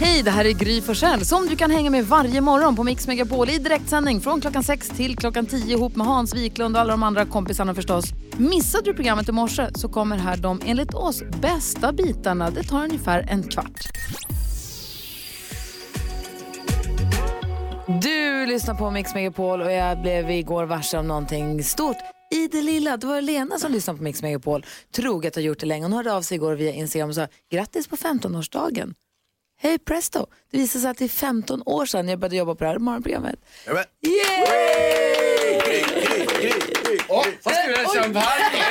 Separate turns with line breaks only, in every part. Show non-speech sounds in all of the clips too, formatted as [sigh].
Hej, det här är Gry Forssell som du kan hänga med varje morgon på Mix Megapol i direktsändning från klockan 6 till klockan 10 ihop med Hans Wiklund och alla de andra kompisarna förstås. Missade du programmet i morse så kommer här de enligt oss bästa bitarna. Det tar ungefär en kvart. Du lyssnar på Mix Megapol och jag blev igår varse om någonting stort. I det lilla, det var Lena som lyssnade på Mix Megapol, troget har gjort det länge. Hon hörde av sig igår via Instagram och sa grattis på 15-årsdagen. Hej presto! Det visade sig att det är 15 år sedan jag började jobba på det här morgonprogrammet.
Jajamän.
Åh, vad ska vi ha champagne?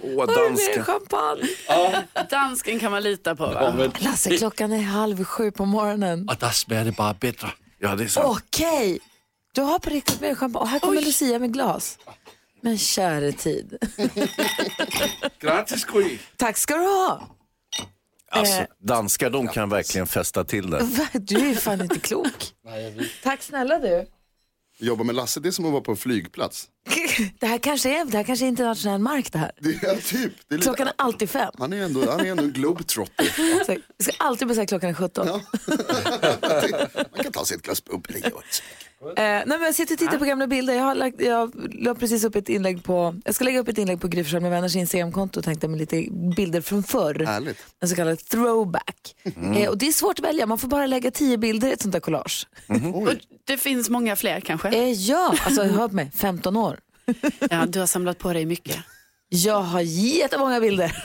Åh,
Har du
danska.
mer champagne?
Dansken kan man lita på va?
Lasse, klockan är halv sju på morgonen.
Och där smakar det bara bättre.
Ja, det är sant.
Okej, du har på riktigt mer champagne. Och här kommer Lucia med glas. Men käre tid.
Grattis Gry.
Tack ska du ha.
Alltså,
eh,
danskar, de kan verkligen festa
[laughs]
till det.
Va? Du är fan inte klok. Tack snälla du. [laughs]
Jobba med Lasse, det är som att vara på en flygplats.
Det här kanske är, det här kanske är internationell mark det här.
Det är typ. Det är lite,
Klockan är alltid fem.
han, är ändå, han är ändå en globetrotter. [laughs]
Så vi ska alltid bara säga klockan är 17.
Man kan ta sig ett glas bubbel.
Eh, nej, men jag sitter och
Ah.
tittar på gamla bilder. Jag, har lagt, jag la precis upp ett inlägg på, jag ska lägga upp ett inlägg på Gry Forssell med vänners Instagramkonto tänkte jag med lite bilder från förr.
Härligt. Mm.
En så kallad throwback. Eh, och det är svårt att välja, man får bara lägga tio bilder i ett sånt där collage.
Mhm. Oh,
Och det finns många fler kanske?
Eh, ja, alltså hör på mig, 15 år.
Ja, du har samlat på dig mycket.
Jag har jättemånga bilder.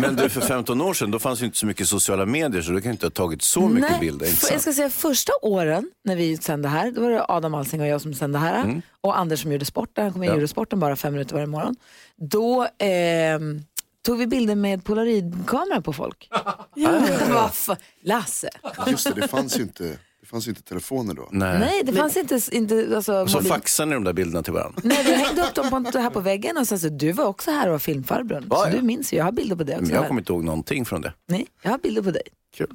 Men du, för 15 år sedan, då fanns ju inte så mycket sociala medier så du kan ju inte ha tagit så mycket bilder. Inte
för- jag
sant?
ska säga första åren när vi sände här, då var det Adam Alsing och jag som sände här
Mm.
och Anders som gjorde sporten, han kom in och gjorde sporten bara fem minuter varje morgon. Då ehm, tog vi bilder med polaroidkamera på
[laughs]
folk. [laughs] Vad fa- Lasse.
Just det, det fanns ju inte, det fanns ju inte telefoner då.
Nej.
Nej, det fanns inte... inte alltså,
Så
mobil-
faxar ni de där bilderna till varandra?
Nej, vi hängde upp dem på, en- här på väggen och sen så, du var också här och var filmfarbrorn.
Var
Så
jag?
du minns ju, jag har bilder på det också.
Men jag
här.
kommer inte ihåg någonting från det.
Nej, jag har bilder på dig.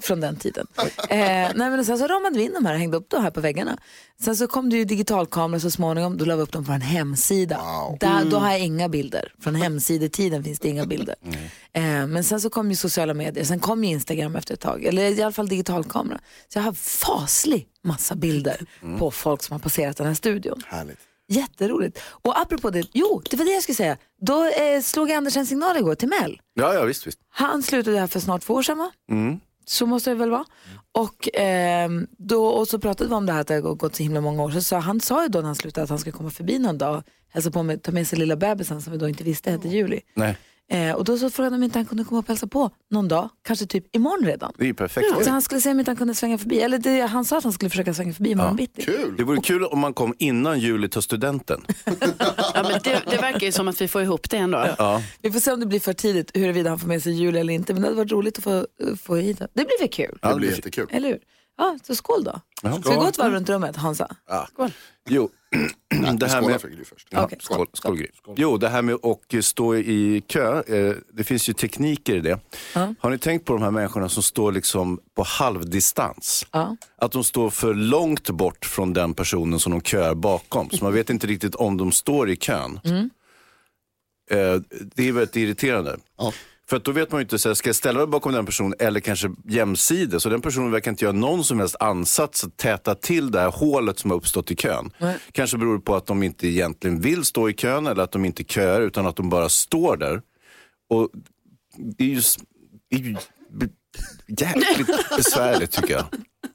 Från den tiden. Eh, nej, men och sen så ramade vi in de här och hängde upp dem här på väggarna. Sen så kom det ju digitalkameror så småningom. Då la vi upp dem på en hemsida. Där, Då har jag inga bilder. Från hemsidetiden finns det inga bilder. Eh, men sen så kom ju sociala medier. Sen kom ju Instagram efter ett tag. Eller i alla fall digitalkamera. Så jag har faslig massa bilder på folk som har passerat den här studion.
Härligt.
Jätteroligt. Och apropå det, jo, det var det jag skulle säga. Då eh, slog Anders en signal igår till Mel.
Ja, ja, visst, Mm. visst.
Han slutade här för snart två år sedan va? Så måste det väl vara. Och, ehm, då, och så pratade vi om det här att det har gått så himla många år. Så sa, han sa ju då när han slutade att han skulle komma förbi någon dag och hälsa på med, ta med sig lilla bebisen som vi då inte visste hette Julie.
Nej,
Eh, och då så frågade han om inte han kunde komma upp och hälsa på någon dag, kanske typ imorgon redan.
det är ju perfekt.
Så han skulle se om inte han kunde svänga förbi, eller det, han sa att han skulle försöka svänga förbi imorgon bitti.
Det vore kul om man kom innan juli till studenten.
Ja, men det, det verkar ju som att vi får ihop det ändå.
Vi får se om det blir för tidigt huruvida han får med sig Julie eller inte, men det hade varit roligt att få, få hit honom. Det blir väl kul.
Det blir jättekul.
Eller hur? Ja, så skål då. Ska vi gå ett varv runt rummet, Hansa?
Jo, [clears throat] det här
Skåla
med...
för Gry först.
Ja,
Okej.
skål, skål, Gry. Jo, det här med att stå i kö, eh, det finns ju tekniker i det. Har ni tänkt på de här människorna som står liksom på halvdistans?
Ja.
Att de står för långt bort från den personen som de kör bakom. Så man vet inte riktigt om de står i kön. Eh, det är väldigt irriterande.
Ja.
För att då vet man ju inte, så här, ska jag ställa mig bakom den personen eller kanske jämsides? Så den personen verkar inte göra någon som helst ansats att täta till det här hålet som har uppstått i kön. Kanske beror det på att de inte egentligen vill stå i kön eller att de inte köar utan att de bara står där. Och det är ju, s- det är ju b- jäkligt besvärligt tycker jag.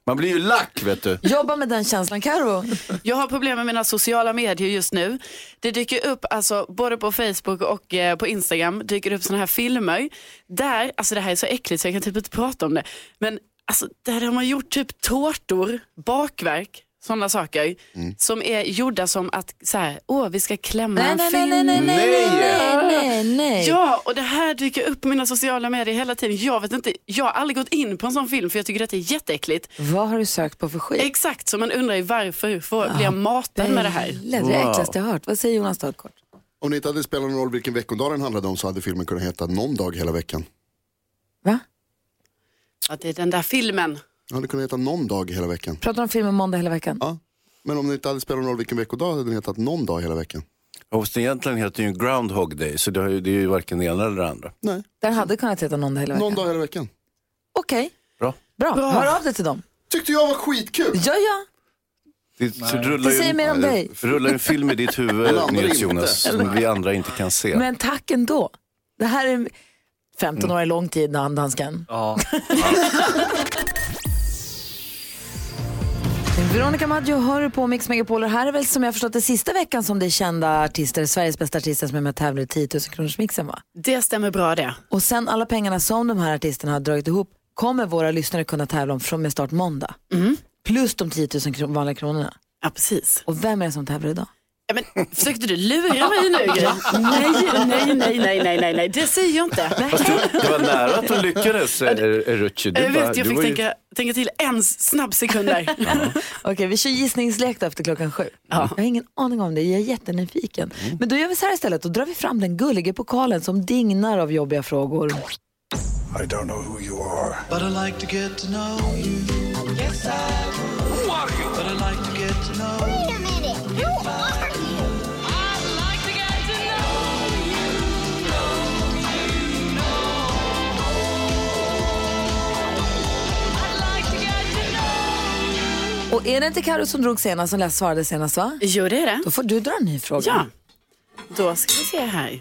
Man blir ju lack vet du.
Jobba med den känslan, Karo.
Jag har problem med mina sociala medier just nu. Det dyker upp, alltså, både på Facebook och eh, på Instagram, dyker upp sådana här filmer. Där, alltså det här är så äckligt så jag kan typ inte prata om det. Men alltså, där har man gjort typ tårtor, bakverk, sådana saker. Som är gjorda som att, så här, åh vi ska klämma
Nej,
en
nej, nej,
film.
nej, nej, nej, nej, nej, nej.
Ja, och det här dyker upp på mina sociala medier hela tiden. Jag vet inte, jag har aldrig gått in på en sån film för jag tycker att det är jätteäckligt.
Vad har du sökt på för skit?
Exakt, så man undrar ju varför får, blir jag matad med det här? Mm.
Det är det äckligaste jag hört. Vad säger Jonas Dahlkort?
Om det inte hade spelat någon roll vilken veckodag den handlade om så hade filmen kunnat heta Någon dag hela veckan.
Va?
Att det är den där filmen.
Den hade kunnat heta Någon dag hela veckan.
Pratar om filmen måndag hela veckan?
Ja. Men om det inte hade spelat någon roll vilken veckodag hade den hetat Någon dag hela veckan.
Fast egentligen heter det ju Groundhog Day så det har ju- det är ju varken det ena eller det andra.
Nej,
Den hade kunnat heta måndag hela
Någon
veckan.
dag hela veckan.
Okej.
Bra.
Bra,
Bra.
hör av dig till dem.
Tyckte jag var skitkul.
Ja, ja,
Det, så
det
rullar, ju
säger
en,
mer om dig.
[laughs] rullar en film i ditt
Den
huvud,
andra
Nils
inte.
Jonas, som vi andra inte kan se.
Men tack ändå. Det här är 15
Mm.
år är lång tid, dan- dansken.
Ja.
Veronica Maggio hör du på Mix Megapol och här är väl som jag förstått det sista veckan som det är kända artister, Sveriges bästa artister som är med och tävlar i 10 000 kronors mixen va?
Det stämmer bra det.
Och sen alla pengarna som de här artisterna har dragit ihop kommer våra lyssnare kunna tävla om från med start måndag. Plus de 10 000 kron- vanliga kronorna.
Mm. Ja, precis.
Och vem är det som tävlar idag?
Ja, men, försökte du lura mig nu? Gry? nej, nej, nej, nej, nej, nej, nej, det säger jag inte.
Fast du, det var nära att du lyckades, eh, Rucci. Du
Jag
bara-
vet,
du
jag fick
var ju-
tänka, tänka till en snabb sekund där.
[laughs] Okej, vi kör gissningslek då efter klockan sju. Jag har ingen aning om det, jag är jättenyfiken.
Mm.
Men då gör vi så här istället, då drar vi fram den gulliga pokalen som dignar av jobbiga frågor.
I don't know who you are.
But I like to get to know you. Yes, I would. Who are you? But I like to get to know you.
Wait a minute. Who are you? I'd like to get to know you. I'd like to get to know you.
Och är det inte Karo som drog senast, som läst svarade senast va?
Jo, det är det.
Då får du dra en ny fråga.
Ja, då ska vi se här.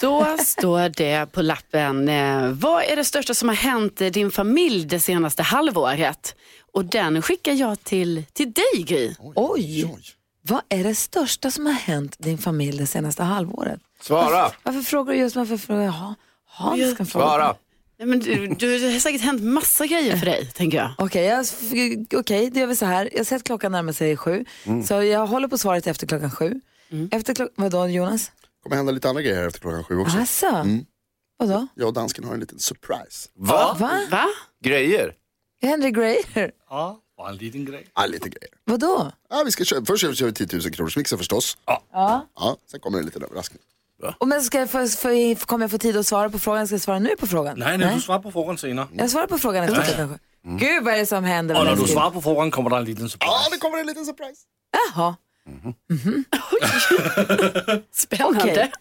Då står det på lappen, eh, vad är det största som har hänt i din familj det senaste halvåret? Och den skickar jag till, till dig Gry.
Oj. Vad är det största som har hänt din familj det senaste halvåret?
Svara,
Varför frågar du just varför frågar jag? Ha, Hans kan fråga.
svara.
Nej, men du, du, det har säkert hänt massa grejer för dig, tänker jag.
Okej, jag, okej, det gör vi så här. Jag har sett klockan närma sig sju.
Mm.
Så jag håller på svaret efter klockan sju.
Mm.
Efter klockan, vadå Jonas?
kommer hända lite andra grejer här efter klockan sju också. Mm.
Asså? Vadå?
Jag och dansken har en liten surprise.
Va?
Va?
Va?
Grejer?
Henry Greyer?
ja, bara en liten grej.
Ja, lite grejer.
Vadå?
Ja, vi ska köra, först kör vi 10 000 kronors mixen förstås. Ja. ja. Sen kommer en liten överraskning.
Och men ska jag få, få, kommer jag få tid att svara på frågan? Ska jag svara nu på frågan?
Nej, nej, du Mm. svarar på frågan senere.
Jag svarar på frågan efter klockan
Mm.
sju. Gud, vad är det som händer?
Og
Vad
når du
läskigt.
svarer på frågan, kommer der en liten surprise.
Ja, det kommer en liten surprise.
Jaha.
Spännande.
Okej.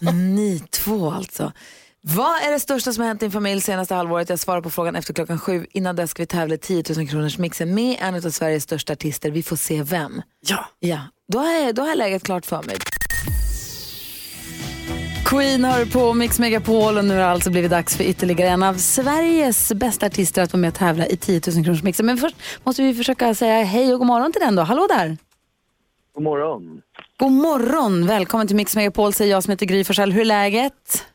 [laughs] Ni två alltså. Vad är det största som har hänt i din familj senaste halvåret? Jag svarar på frågan efter klockan sju. Innan dess ska vi tävla i 10 000 kronors mixen med en av Sveriges största artister. Vi får se vem.
Ja.
Ja, då har jag, då har jag läget klart för mig. Queen hör på Mix Megapol och nu har det alltså blivit dags för ytterligare en av Sveriges bästa artister att vara med och tävla i 10 000 kronors mixen. Men först måste vi försöka säga hej och god morgon till den då. Hallå där!
God morgon.
God morgon! Välkommen till Mix Megapol säger jag som heter Gry Forssell. Hur är läget?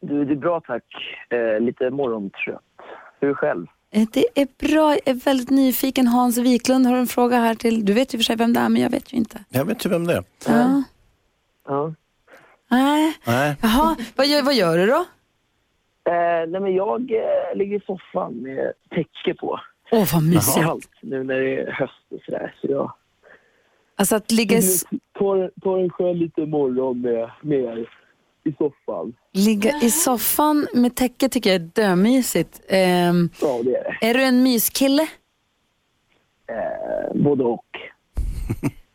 Du, det är bra tack. Eh, lite morgontrött. Hur själv?
Eh, Det är bra. Jag är väldigt nyfiken. Hans Wiklund har en fråga här till... Du vet ju för sig vem det är, men jag vet ju inte.
Jag vet inte vem det är.
Ja.
Ja.
Nej.
Nej.
Jaha, vad gör, vad gör du då?
Eh, nej men jag eh, ligger i soffan med täcke på.
Åh, vad mysigt.
Det är kallt nu när det är höst och sådär. Så jag
Alltså att ligga i, s-
tar, tar en skön liten morgon med, med er i soffan.
ligga i soffan med täcke tycker jag är dömysigt. Ehm,
Ja, det är det.
är du en myskille?
Eh, både och.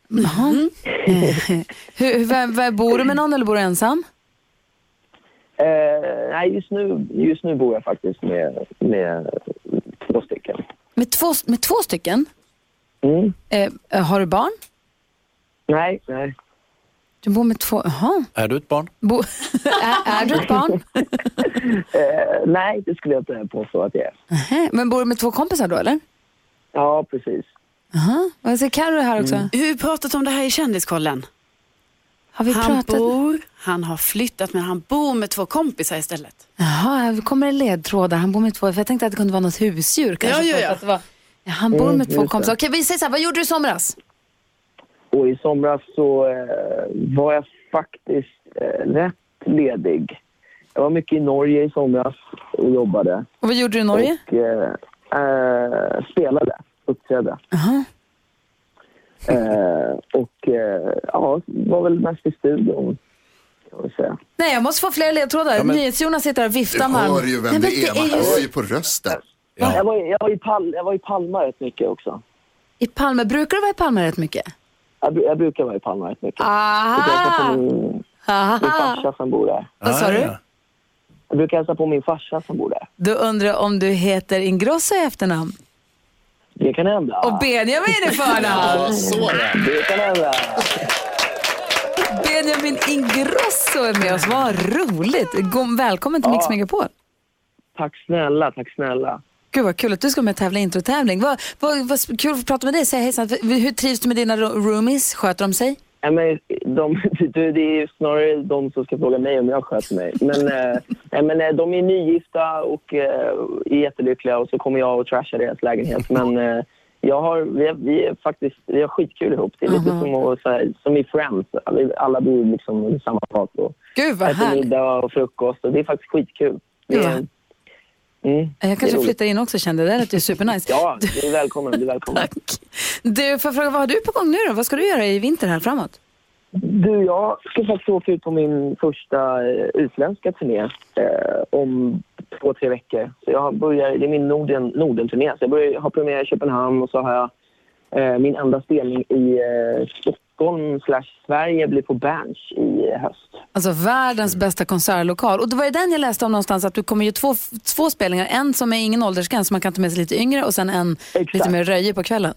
Jaha. Eh, hur, hur, vem- vem- bor du med någon eller bor du ensam?
Eh, nej, just nu, just nu bor jag faktiskt med, med två stycken.
Med två, med två stycken?
Mm.
Eh, har du barn?
Nej, nej.
Du bor med två... Jaha.
Är du ett barn?
[laughs] Bo, är, är du ett barn?
Eh, nej, det skulle jag inte påstå att jag är.
Hä? Men bor du med två kompisar då eller?
Ja, precis.
Aha. Och jag ser Carro här också.
Mm.
Vi har ju pratat om det här i Kändiskollen.
Har vi
Han
pratat?
bor, han har flyttat men han bor med två kompisar istället.
Jaha, här kommer det ledtrådar. Han bor med två... För jag tänkte att det kunde vara något husdjur kanske.
Ja, ja, ja.
Att det var... [laughs] ja han bor
Mm,
med två
just det.
kompisar. Okej, vi säger så här. Vad gjorde du i somras?
Och i somras så eh, var jag faktiskt eh, rätt ledig. Jag var mycket i Norge i somras och jobbade.
Och vad gjorde du i Norge?
Och eh, eh, spelade, uppträdde.
Jaha.
Eh, och eh, ja, var väl mest i studion, kan man säga.
Nej, jag måste få fler ledtrådar. NyhetsJonas sitter här och
Du
viftar med
hör
armen.
ju
Nej,
vem det
men
är, man
ju
hör ju på rösten.
Jag, var, i- jag, var i Pal- jag var i Palma rätt mycket också.
I Palme. Brukar du vara i Palme rätt mycket?
Jag, bru- jag brukar vara i Palma rätt mycket. Det är därför
Aha!
min, min
Aha!
farsa som bor där.
Vad sa
Ah,
du?
ja.
Jag brukar hälsa på min farsa som bor där.
Då undrar jag om du heter Ingrosso i efternamn
Det kan hända.
och Benjamin i förnamn.
Så är det.
Det kan hända.
Benjamin Ingrosso är med oss. Vad roligt. Gå- Välkommen till Mix Megapol.
Tack snälla, tack snälla.
Gud vad kul att du ska med och tävla i introtävling. Vad, vad, vad kul att få prata med dig. Säg hejsan. Hur trivs du med dina ro- roomies? Sköter de sig? Eh,
Nej, men de, [laughs] du, det är ju snarare de som ska fråga mig om jag sköter mig. Men, eh, [laughs] nej, men eh, de är nygifta och eh, är jättelyckliga och så kommer jag och trashar deras lägenhet. Men eh, jag har, vi, är, vi är faktiskt vi har skitkul ihop. Det är lite
Mhm.
som, att, så här, som i Friends. Vi- Alla bor liksom i samma fat och
Gud vad
äter
härligt.
middag och frukost. Och det är faktiskt skitkul. Det är,
Ja.
mm,
Jag kanske
det är roligt.
flyttar in också kände. Det där
[laughs]
lät ju supernice.
Ja, du är välkommen.
[laughs]
Du är välkommen.
Tack. Du, får jag fråga, vad har du på gång nu då? Vad ska du göra i vinter här framåt?
Du, jag ska faktiskt åka ut på min första eh, utländska turné eh, om två, tre veckor. Så jag börjar, det är min Norden, Norden-turné. Så jag börjar, har premiär i Köpenhamn och så har jag eh, min enda spelning i eh, Stockholm slash Sverige blir på Berns i eh, höst.
Alltså världens bästa konsertlokal. Och det var ju den jag läste om någonstans att du kommer ju två, två spelningar. En som är ingen åldersgräns, man kan ta med sig lite yngre och sen en
Exakt.
lite mer röje på kvällen.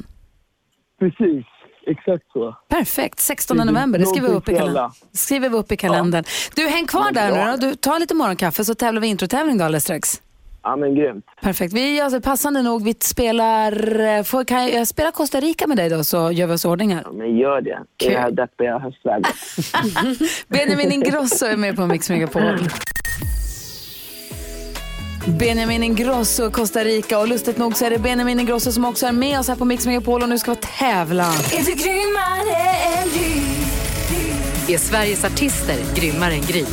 Precis, exakt så.
Perfekt, 16
Precis.
november, det skriver vi upp i
Någonting för
kalendern.
alla.
Skriver vi upp i kalendern. Du, häng kvar där nu
bra.
då. Du, ta lite morgonkaffe så tävlar vi introtävling då alldeles strax.
Ja, men grymt.
Perfekt. Vi, alltså, passande nog, vi spelar... eh, Får, kan jag, jag spelar Costa Rica med dig då så gör vi oss i ordning här.
Ja, men gör det. I det här deppiga höstvädret.
Benjamin Ingrosso är med på Mix Megapol. Benjamin Ingrosso, Costa Rica och lustigt nog så är det Benjamin Ingrosso som också är med oss här på Mix Megapol och nu ska vi tävla.
Är Sveriges artister grymmare än Gry?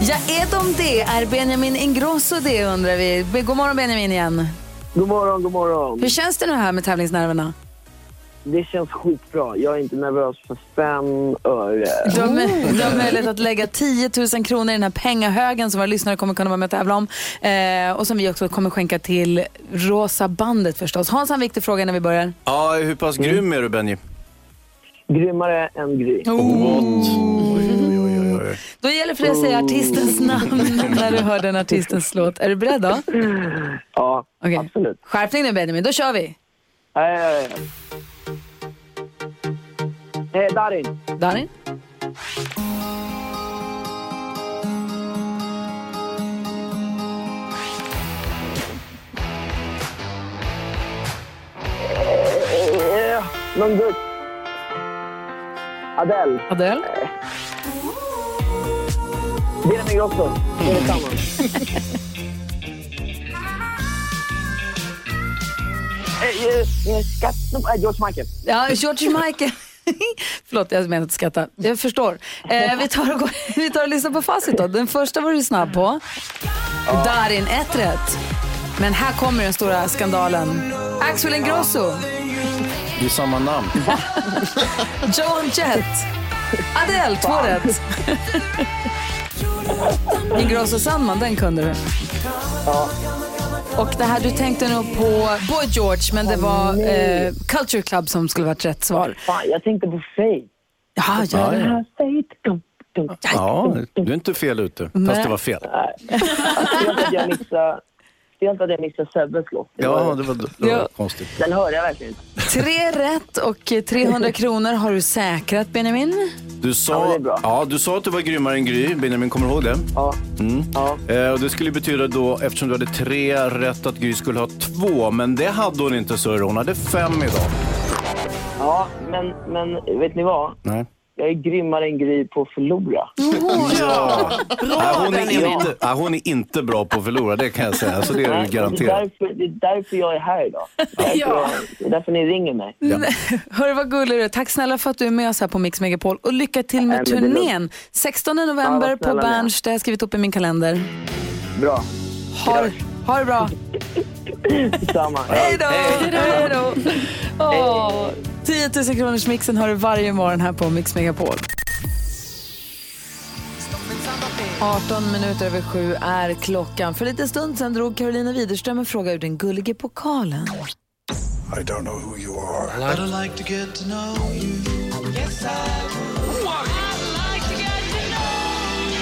Ja, är de det? Är Benjamin Ingrosso det undrar vi. Be- God morgon Benjamin igen.
God morgon, god morgon.
Hur känns det nu här med tävlingsnerverna?
Det känns skitbra. Jag är inte nervös för fem öre.
Du har,
Oh.
mö- du har möjlighet att lägga 10 000 kronor i den här pengahögen som våra lyssnare kommer kunna vara med och tävla om. Eh, och som vi också kommer skänka till Rosa bandet förstås. Hans, han viktig fråga när vi börjar.
Ja, hur pass grym är du Benji?
Mm.
Oh,
Grymmare än Gry.
Då gäller det för dig att säga artistens namn när du hör den artistens låt. Är du beredd då?
Ja,
Okej.
absolut.
Skärpning nu Benjamin, då kör vi.
Nej, nej, nej. Eh, Darin.
Darin?
Eh, någon gutt. Adele.
Adele?
Benjamin Ingrosso. Det är samma.
[laughs]
Eh, eh, eh, Skatt... eh, George Michael.
Ja, George Michael. [laughs] Förlåt, jag menar inte skratta. Jag förstår. Eh, vi, tar och går, [laughs] vi tar och lyssnar på facit då. Den första var du snabb på. Darin, ett rätt. Men här kommer den stora skandalen. Axel Ingrosso,
Det är samma namn.
[laughs] Joan Jett, Adele, två rätt. Ingrosso Sandman, den kunde du. Och det här, du tänkte nog på Boy George, men det var eh, Culture Club som skulle varit rätt svar.
Fan, jag tänkte på Faith.
Ja, ja, ja.
Faith. Dum, dum.
Ja, du är inte fel ute. Fast det var fel.
Speciellt att jag missade... Speciellt att jag missade Sebbes låt. Det
Ja,
var-
det var, det var konstigt.
Den hörde jag verkligen inte.
Tre rätt och 300 kronor har du säkrat, Benjamin.
Du
men det
sa,
är bra.
ja, du sa att du var grymmare än Gry. Benjamin, kommer du ihåg det?
Ja. ja.
Eh, och det skulle betyda då, eftersom du hade tre rätt, att Gry skulle ha två. Men det hade hon inte, så Hon hade fem idag.
Ja, men, men vet ni vad?
Nej.
Jag är grymmare än Gry på att förlora.
Nej, hon, är
Benjamin.
inte, nej, hon är inte bra på att förlora, det kan jag säga. Så alltså, det är du
Det är,
garanterat.
därför, det är därför jag är här idag. Det är därför, jag, det är därför ni ringer mig.
Hörru, vad gullig du är. Tack snälla för att du är med oss här på Mix Megapol. Och lycka till med
Nej, men det är
turnén. 16 november
Ja, vad
på
snälla ni är.
Berns. Det har jag skrivit upp i
[laughs]
min kalender.
Bra.
Ha, ha det bra.
Detsamma.
Hej då! Hej då! Åh, 10 000 kronors mixen har du varje morgon här på Mix Megapol. 18 minuter över sju är klockan. För lite stund sedan drog Carolina Widerström en fråga ur den gullige pokalen.
I don't know who you are.
I'd like to get to know you. Yes, I would.
I'd like to get to know you.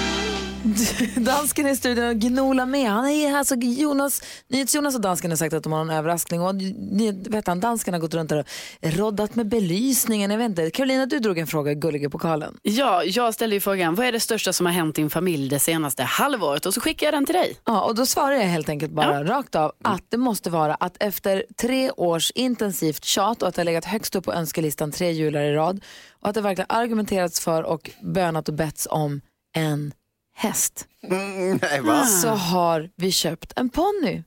[laughs] dansken är i studion och gnolar med. Han är alltså Jonas, Jonas och dansken har sagt att de har en överraskning. Och ni vet han, dansken har gått runt där och roddat med belysningen. Jag vet inte. Carolina, du drog en fråga i Gulliga pokalen.
Ja, jag ställde ju frågan, vad är det största som har hänt din familj det senaste halvåret? Och så skickade jag den till dig.
Ja, och då svarar jag helt enkelt bara rakt av att det måste vara att efter tre års intensivt tjat och att det har legat högst upp på önskelistan tre jular i rad och att det verkligen argumenterats för och bönat och betts om en häst.
Mm, nej, va?
Så har vi köpt en ponny.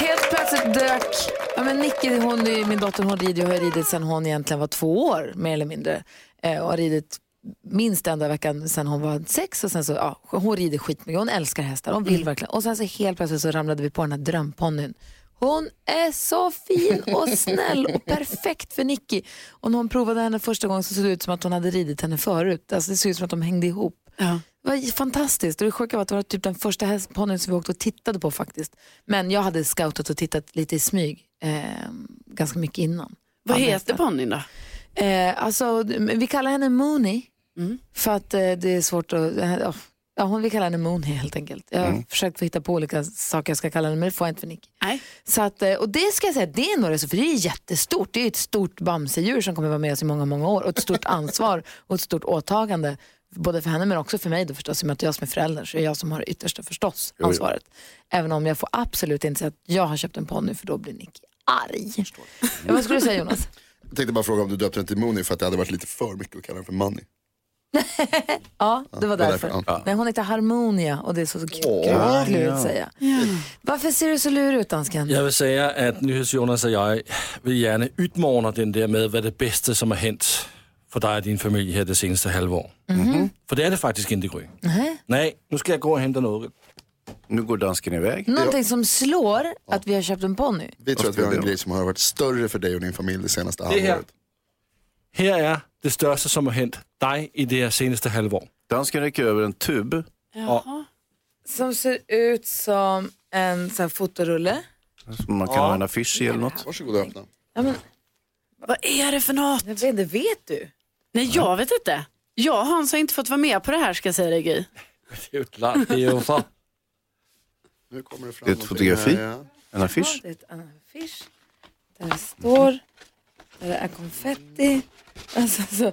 Helt plötsligt dök, ja men Nicky, hon är ju min dotter, hon rider ju och har ridit sedan hon egentligen var två år mer eller mindre. Eh, och har ridit minst enda veckan sedan hon var sex och sen så, ja, hon rider skitmycket, hon älskar hästar, hon vill verkligen. Och sen så helt plötsligt så ramlade vi på den här drömponnyn. Hon är så
Mm.
fin och snäll och perfekt för Nicky. Och när hon provade henne första gången så såg det ut som att hon hade ridit henne förut. Alltså det såg ut som att de hängde ihop. Det var fantastiskt. Och det sjuka var att det var typ den första hästponnyn som vi åkte och tittade på faktiskt. Men jag hade scoutat och tittat lite i smyg eh, ganska mycket innan.
Vad
Ja,
heter ponnyn då?
Eh, alltså, vi kallar henne Mooney för att eh, det är svårt att... ja, ja, hon vill kalla henne Mooney helt enkelt. Jag har
Mm.
försökt få hitta på olika saker jag ska kalla henne men det får jag inte för Nick.
Nej.
Så att, eh, och det ska jag säga, det är nog det, för det är jättestort. Det är ett stort bamsedjur som kommer vara med oss i många, många år och ett stort ansvar och ett stort åtagande. Både för henne men också för mig då förstås, i och med att jag som är förälder så är jag som har det yttersta förstås
jo.
ansvaret. Även om jag får absolut inte säga att jag har köpt en ponny för då blir Nick arg. Ja, vad skulle du säga Jonas?
Jag tänkte bara fråga om du döpte den till Mooney för att det hade varit lite för mycket att kalla den för Money.
Ja, det var
det var
därför.
därför, ja.
Nej, hon heter Harmonia och det är så kul
Ja,
klurigt
ja.
att säga. Varför ser du så lurig ut, dansken?
Jag vill säga att NyhetsJonas och jag vill gärna utmana den där med vad det bästa som har hänt för dig och din familj här det senaste halvåret. För det är det faktiskt inte Gry.
Mhm. Nej.
Nej, nu ska jag gå och hämta något.
Nu går dansken iväg.
Någonting som slår att vi har köpt en ponny.
Vi tror att vi har en
det?
grej som har varit större för dig och din familj det senaste
Det här.
halvåret.
Här är det största som har hänt dig i det senaste halvåret.
Dansken räcker över en tub.
Som ser ut som en sån här fotorulle.
Som man kan ha en affisch i eller något.
Varsågod och öppna.
Ja, men,
Vad är det för något?
jag vet, det vet du.
Nej, jag vet inte. Jag och Hans har inte fått vara med på det här ska jag säga dig Gry.
Det är ju klart, det är ju så.
Nu kommer det fram
Det är ett
någonting här,
fotografi.
ja.
En affisch.
Ja, det är en affisch. Där det står. Där det är konfetti. Alltså, så.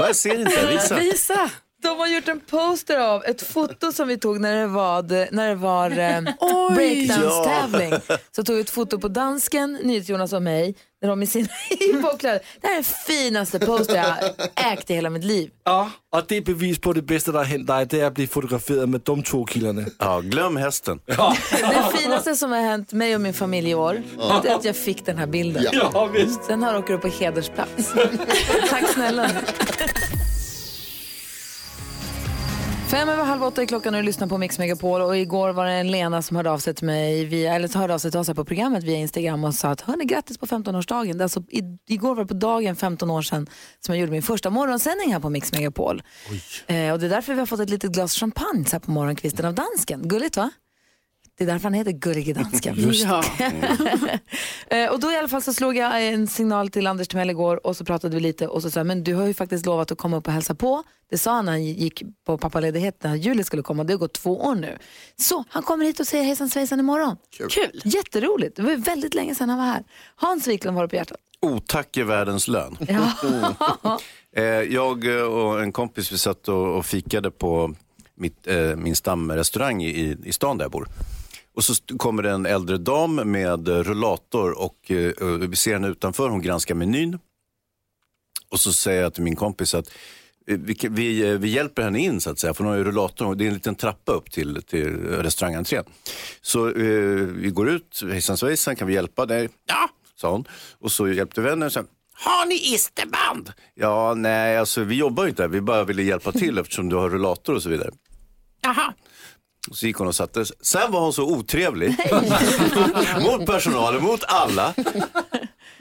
Vad jag ser inte,
[laughs]
visa.
Visa!
De har gjort en poster av ett foto som vi tog när det var, när det var eh, breakdance-tävling. Så tog vi ett foto på dansken, NyhetsJonas och mig, när de i sina [laughs] hiphopkläder. Det här är den finaste poster jag har ägt i hela mitt liv.
Ja, och det är bevis på det bästa som har hänt dig, det är att bli fotograferad med de två killarna.
Ja, glöm hästen.
Det finaste som har hänt mig och min familj i år, det är att jag fick den här bilden.
Ja, visst.
Den här åker upp på hedersplats. Tack snälla. Fem över halv åtta är klockan och du lyssnar på Mix Megapol. Och igår var det en Lena som hörde av sig till mig, via, eller som hörde av sig till oss här på programmet via Instagram och sa att hörni, grattis på 15-årsdagen. Det är Alltså, i, igår var det på dagen 15 år sedan som jag gjorde min första morgonsändning här på Mix Megapol. Eh, och det är därför vi har fått ett litet glas champagne så här på morgonkvisten av dansken. Gulligt va? Det är därför han heter Gullige Dansken.
Ja.
[laughs] Eh, och då i alla fall så slog jag en signal till Anders Timell igår och så pratade vi lite och så sa jag, men du har ju faktiskt lovat att komma upp och hälsa på. Det sa han när han gick på pappaledighet när Julie skulle komma. Det har gått två år nu. Så han kommer hit och säger hejsan svejsan imorgon.
Kul!
Jätteroligt. Det var ju väldigt länge sedan han var här. Hans Wiklund var det på
[laughs]
hjärtat.
Otack är världens lön.
Ja.
Eh, jag eh, och en kompis vi satt och, och fikade på mitt, eh, min stamrestaurang i, i stan där jag bor. Och så st- kommer det en äldre dam med eh, rullator och eh, eh, vi ser henne utanför, hon granskar menyn. Och så säger jag till min kompis att eh, vi, kan- vi, eh, vi hjälper henne in så att säga, för hon har ju rullatorn och det är en liten trappa upp till, till eh, restaurangentrén. Så eh, vi går ut, hejsan svejsan, kan vi hjälpa dig? Ja, sa hon. Och så hjälpte vi henne. och Sen, har ni isterband? Ja, nej, alltså vi jobbar ju inte där. Vi bara ville hjälpa till eftersom du har rullator och så vidare. Jaha. Och så gick hon och satte sig. Sen var hon så
[laughs]
otrevlig. mot personalen, mot alla.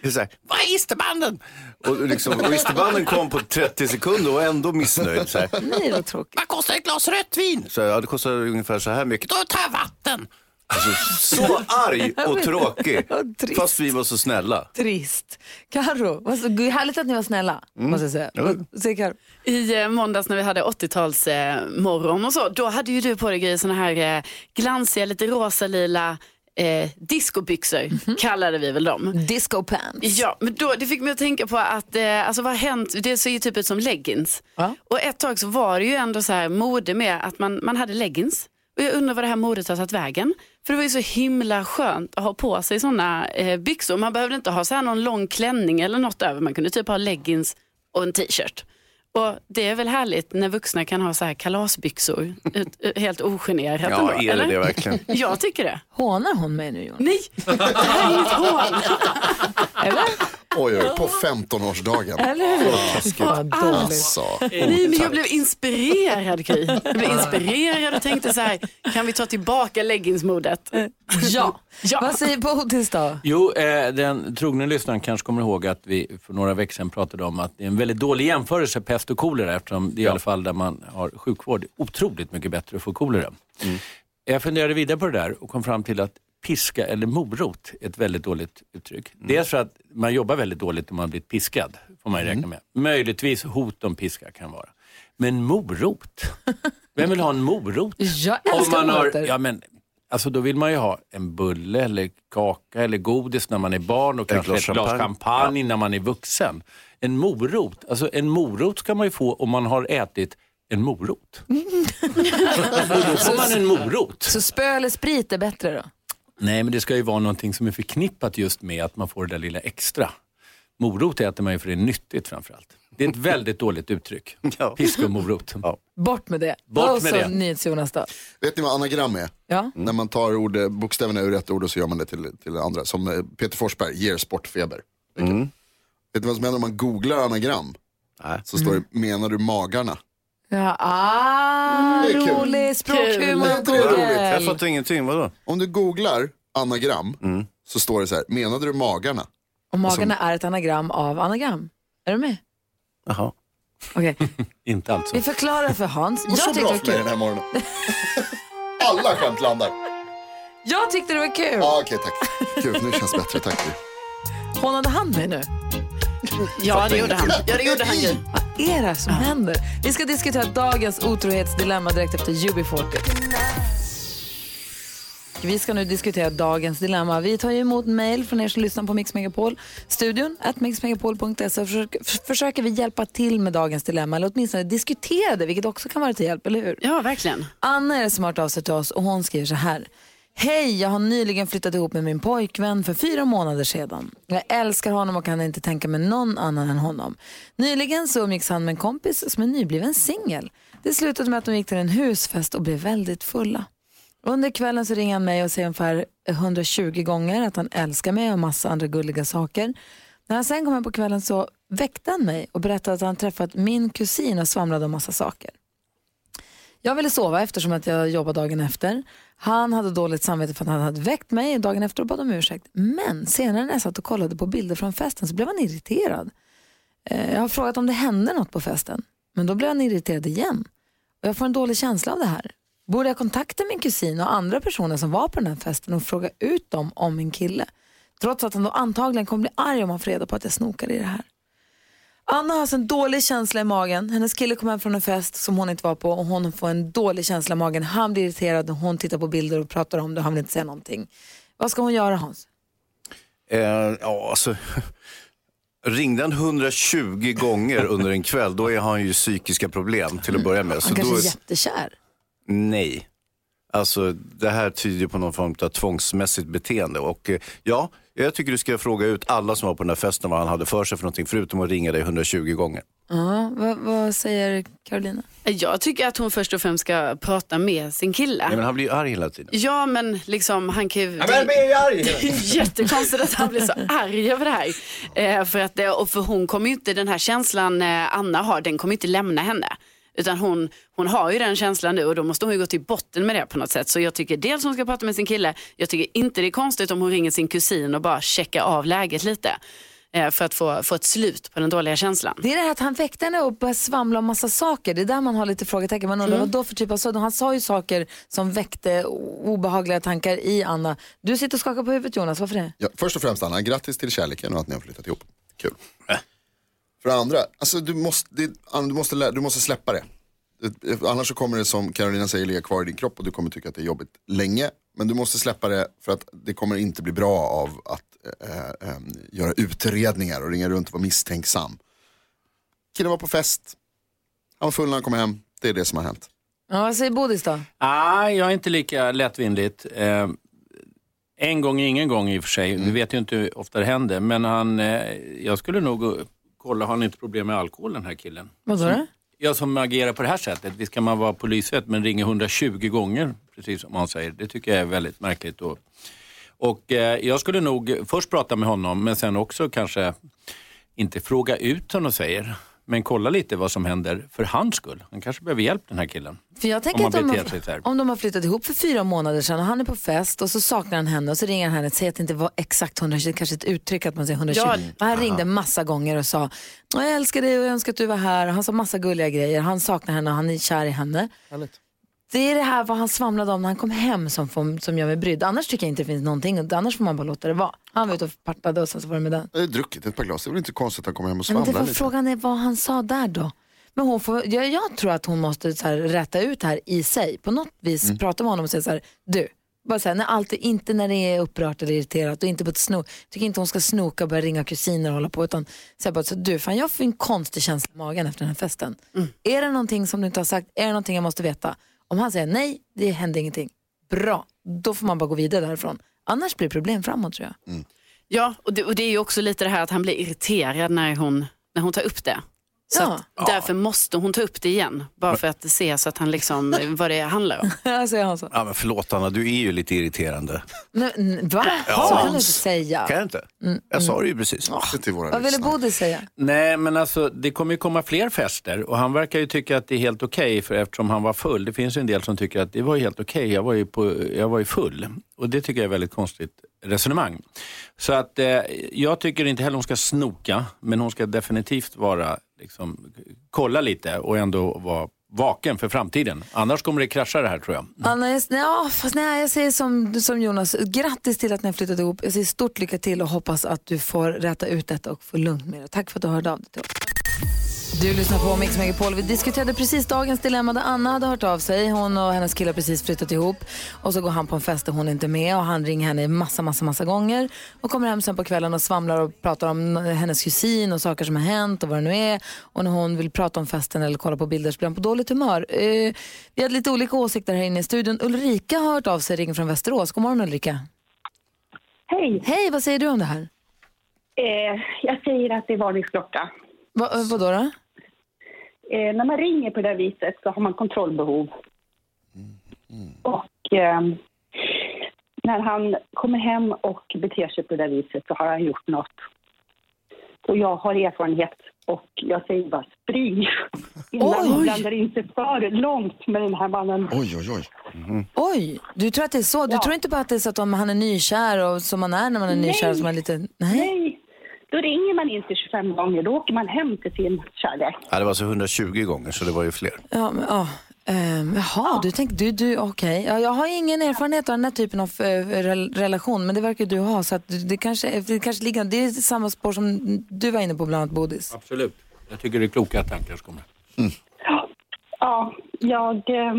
Det är så här, Vad är isterbanden? Och, liksom, och isterbanden kom på 30 sekunder och var ändå missnöjd. Så här.
Nej, vad tråkigt.
Vad kostar ett glas rött vin? Så, jag, ja, det kostar ungefär så här mycket. Då tar jag vatten. Alltså, så arg
[laughs]
och tråkig.
Och trist.
Fast vi var så snälla.
Trist. Karo, vad så- gud, härligt att ni var snälla.
Mm.
Måste jag säga.
Ja.
Säg Karo.
I eh, måndags när vi hade 80-tals eh, morgon och så, då hade ju du på dig grejer, såna här eh, glansiga, lite rosa lila eh, discobyxor, kallade vi väl dem.
Mhm. Disco pants.
Ja, men då, det fick mig att tänka på att, eh, alltså vad har hänt, det ser ju typ ut som leggings. Och ett tag så var det ju ändå så här mode med att man, man hade leggings. Och jag undrar vad det här modet har tagit vägen. För det var ju så himla skönt att ha på sig sådana eh, byxor. Man behövde inte ha så här någon lång klänning eller något över. Man kunde typ ha leggings och en t-shirt. Och Det är väl härligt när vuxna kan ha så här kalasbyxor ut, ut, helt ogenerat.
Ja,
ändå,
är det
eller?
det verkligen?
[laughs] Jag tycker det.
Hånar hon mig nu Jonas?
[laughs]
Nej, det här är inget hån.
Oj, oj, på 15-årsdagen.
Eller hur?
Ah, skit.
Vad dåligt.
Alltså.
Nej, men jag blev inspirerad Gry. Jag blev inspirerad och tänkte så här, kan vi ta tillbaka leggingsmodet?
Ja. Vad säger Bodis då?
Jo, eh, den trogne lyssnaren kanske kommer ihåg att vi för några veckor sedan pratade om att det är en väldigt dålig jämförelse pest och kolera eftersom det i alla fall där man har sjukvård är otroligt mycket bättre att få kolera.
Mm.
Jag funderade vidare på det där och kom fram till att piska eller morot är ett väldigt dåligt uttryck. Dels för att man jobbar väldigt dåligt om man har blivit piskad, får man ju räkna med. Möjligtvis hot om piska kan vara. Men morot? Vem vill ha en morot?
Jag
Om
älskar
man har,
morötter.
ja, men, alltså Då vill man ju ha en bulle eller kaka eller godis när man är barn och kanske
glas
ett glas
champagne.
champagne när man är vuxen. En morot, alltså en morot ska man ju få om man har ätit en morot. då [laughs] får man en morot.
Så spö eller sprit är bättre då?
Nej, men det ska ju vara någonting som är förknippat just med att man får det där lilla extra. Morot äter man ju för det är nyttigt framförallt. Det är ett väldigt dåligt uttryck. Pisk och morot.
Bort med det.
Bort
och
med
så
det.
NyhetsJonas då.
Vet ni vad anagram är? Mm.
Ja.
När man tar ord, eh, bokstäverna ur ett ord och så gör man det till, till andra. Som eh, Peter Forsberg, ger sportfeber. Vet ni vad som händer om man googlar anagram? Så står det, menar du magarna?
Ja, ah,
Mm. Det är kul.
rolig språkhumor och
roligt?
Google.
fattar
ingenting, vadå?
Om du googlar anagram så står det så här, menade du magarna?
Och magarna är ett anagram av anagram. Är du med?
Jaha.
[laughs]
Okej.
Inte alltså.
Vi förklarar för Hans.
Och så
Jag tyckte, det var
bra för mig den
kul.
här morgonen.
[laughs]
Alla skämt landar.
jag tyckte det var kul.
Ja, Okej, tack. Gud, nu känns det bättre. Tack.
Hånade han mig nu?
Ja, det gjorde han. Ja, det gjorde han Gry.
Vad är det som händer? Vi ska diskutera dagens otrohetsdilemma direkt efter UB40. Vi ska nu diskutera dagens dilemma. Vi tar ju emot mejl från er som lyssnar på Mix Megapol. Studion, at mixmegapol.se. Försöker, f- försöker vi hjälpa till med dagens dilemma, eller åtminstone diskutera det, vilket också kan vara till hjälp, eller hur?
Ja, verkligen.
Anna är det som har hört av sig till oss och hon skriver så här. Hej, jag har nyligen flyttat ihop med min pojkvän för fyra månader sedan. Jag älskar honom och kan inte tänka mig någon annan än honom. Nyligen så umgicks han med en kompis som är nybliven singel. Det slutade med att de gick till en husfest och blev väldigt fulla. Under kvällen så ringer han mig och säger ungefär 120 gånger att han älskar mig och massa andra gulliga saker. När han sen kom hem på kvällen så väckte han mig och berättade att han träffat min kusin och svamlade om massa saker. Jag ville sova eftersom att jag jobbade dagen efter. Han hade dåligt samvete för att han hade väckt mig dagen efter och bad om ursäkt. Men senare när jag satt och kollade på bilder från festen så blev han irriterad. Eh, Jag har frågat om det hände något på festen, men då blev han irriterad igen. Och jag får en dålig känsla av det här. Borde jag kontakta min kusin och andra personer som var på den här festen och fråga ut dem om min kille? Trots att han då antagligen kommer bli arg om han får reda på att jag snokar i det här. Anna har alltså en dålig känsla i magen. Hennes kille kom hem från en fest som hon inte var på och hon får en dålig känsla i magen. Han blir irriterad och hon tittar på bilder och pratar om det och han vill inte säga någonting. Vad ska hon göra Hans?
Eh, ja, alltså. [laughs] Ringde han 120 gånger under en kväll, då är han ju psykiska problem till att börja med.
Han kanske
Alltså, då
är jättekär.
Nej. Alltså det här tyder ju på någon form av tvångsmässigt beteende. Och eh, ja, jag tycker du ska fråga ut alla som var på den här festen vad han hade för sig för någonting, förutom att ringa dig 120 gånger.
Ja, vad, vad säger Carolina?
Jag tycker att hon först och främst ska prata med sin kille.
Nej, men han blir ju arg hela tiden.
Ja, men liksom han kan ju...
Ja, men jag blir ju arg.
[laughs] Det är jättekonstigt att han blir så arg över det här. Eh, för att, det- och för hon kommer ju inte, den här känslan eh, Anna har, den kommer inte lämna henne. Utan hon, hon har ju den känslan nu och då måste hon ju gå till botten med det på något sätt. Så jag tycker dels hon ska prata med sin kille, jag tycker inte det är konstigt om hon ringer sin kusin och bara checkar av läget lite. Eh, eh, för att få, få ett slut på den dåliga känslan.
Det är det här att han väckte henne och började svamla om massa saker. Det är där man har lite frågetecken. Man undrar vad
Mm.
då för typ av sådant. Han sa ju saker som väckte o- obehagliga tankar i Anna. Du sitter och skakar på huvudet Jonas, varför det?
Ja, först och främst Anna, grattis till kärleken och att ni har flyttat ihop. Kul. För det andra, alltså, du, måste, det, Anna, du, måste, lä- du måste släppa det. Det- Annars så kommer det som Carolina säger ligga kvar i din kropp och du kommer tycka att det är jobbigt länge. Men du måste släppa det för att det kommer inte bli bra av att eh, eh, göra utredningar och ringa runt och vara misstänksam. Killen var på fest, han var full när han kom hem, det är det som har hänt.
Ja, vad säger Bodis då?
Ah, jag är inte lika lättvindigt. Eh, en gång är ingen gång i och för sig. Vi vet ju inte hur ofta det händer. Men han, eh, jag skulle nog gå- kolla, har han inte problem med alkohol den här killen?
Vad sa du?
Jag som agerar på det här sättet, visst kan man vara polisvett men ringer 120 gånger, precis som han säger. Det tycker jag är väldigt märkligt. Och, och eh, jag skulle nog först prata med honom, men sen också kanske inte fråga ut honom säger, men kolla lite vad som händer för hans skull. Han kanske behöver hjälp den här killen.
För jag
Om
tänker
man
att de
beter sig så här.
har, om de har flyttat ihop för fyra månader sedan och han är på fest och så saknar han henne och så ringer han henne och säger att det inte var exakt 120, kanske ett uttryck att man säger 120.
Ja.
Men han ringde massa gånger och sa jag älskar dig och jag önskar att du var här. Och Han sa massa gulliga grejer. Han saknar henne och han är kär i henne. Det är det här vad han svamlade om när han kom hem som, får, som gör mig brydd. Annars tycker jag inte det finns någonting. och Annars får man bara låta det vara. Han var ute och partade och sen så var det med den.
Jag har druckit ett par glas, det är väl inte konstigt att han kommer hem och
Nej, Men det
svamlar
var
lite.
frågan är vad han sa där då. Men hon får, jag, jag tror att hon måste så här, rätta ut det här i sig. På något vis
Mm.
prata med honom och säga så här, du, bara säga när allt, inte när det är upprört eller irriterat och inte på ett snok. tycker inte hon ska snoka och börja ringa kusiner och hålla på. Utan säga bara så, du, fan jag får en konstig känsla i magen efter den här festen. Är det någonting som du inte har sagt? Är det någonting jag måste veta? Om han säger nej, det hände ingenting. Bra, då får man bara gå vidare därifrån. Annars blir det problem framåt tror jag.
Mm.
Ja, och det, och det är ju också lite det här att han blir irriterad när hon, när hon tar upp det. Så
Ja.
att därför måste hon ta upp det igen, bara för att se så att han
[laughs]
liksom, eh, vad det handlar om.
Ja, säger han så.
Ja, men förlåt Anna, du är ju lite irriterande.
Nej, n- va?
Mm.
Ja.
Så kan du inte säga.
Kan jag inte? Jag sa det ju precis.
Vad ville Bodil säga?
Nej, men alltså det kommer ju komma fler fester och han verkar ju tycka att det är helt okej för eftersom han var full. Det finns ju en del som tycker att det var ju helt okej, jag, var ju på- jag var ju full. Och det tycker jag är ett väldigt konstigt resonemang. Så att eh, jag tycker inte heller hon ska snoka, men hon ska definitivt vara, liksom, kolla lite och ändå vara vaken för framtiden. Annars kommer det krascha det här tror jag.
Anna, jag, nej, ja, fast nej, jag säger som, som Jonas, grattis till att ni har flyttat ihop. Jag säger stort lycka till och hoppas att du får räta ut detta och få lugnt med det. Tack för att du hörde av dig till oss. Du lyssnar på Mix Megapol. Vi diskuterade precis dagens dilemma där Anna hade hört av sig. Hon och hennes kille har precis flyttat ihop och så går han på en fest där hon inte är med och han ringer henne massa, massa, massa gånger och kommer hem sen på kvällen och svamlar och pratar om hennes kusin och saker som har hänt och vad det nu är. Och när hon vill prata om festen eller kolla på bilder så blir han på dåligt humör. Eh, vi hade lite olika åsikter här inne i studion. Ulrika har hört av sig, ringer från Västerås. God morgon Ulrika.
Hej.
Hej, vad säger du om det här?
Eh, jag säger att det är varningsklocka.
Va, eh, vadå då?
Eh, när man ringer på det här viset så har man kontrollbehov. Och eh, när han kommer hem och beter sig på det här viset så har han gjort något. Och jag har erfarenhet och jag säger bara spring. Innan
Oj.
man blandar in sig för långt med den här mannen.
Oj, oj, Mhm. oj.
Oj, du tror att det är så? Du tror inte bara att det är så att om han är nykär och som man är när man är
Nej.
nykär? Som man är lite... Nej.
Nej, då ringer man inte 25 gånger. Då åker man hem till sin kärlek.
Ja, det var alltså 120 gånger, så det var ju fler.
Ja, men, ja. Ehm, jaha, du tänkte, du, du, okej. Ja, jag har ingen erfarenhet av den här typen av eh, rel- relation, men det verkar du ha. Så att du- det, kanske, det kanske ligger, det är samma spår som du var inne på bland annat, Bodis.
Absolut. Jag tycker det är kloka tankar som kommer.
Ja, jag, eh,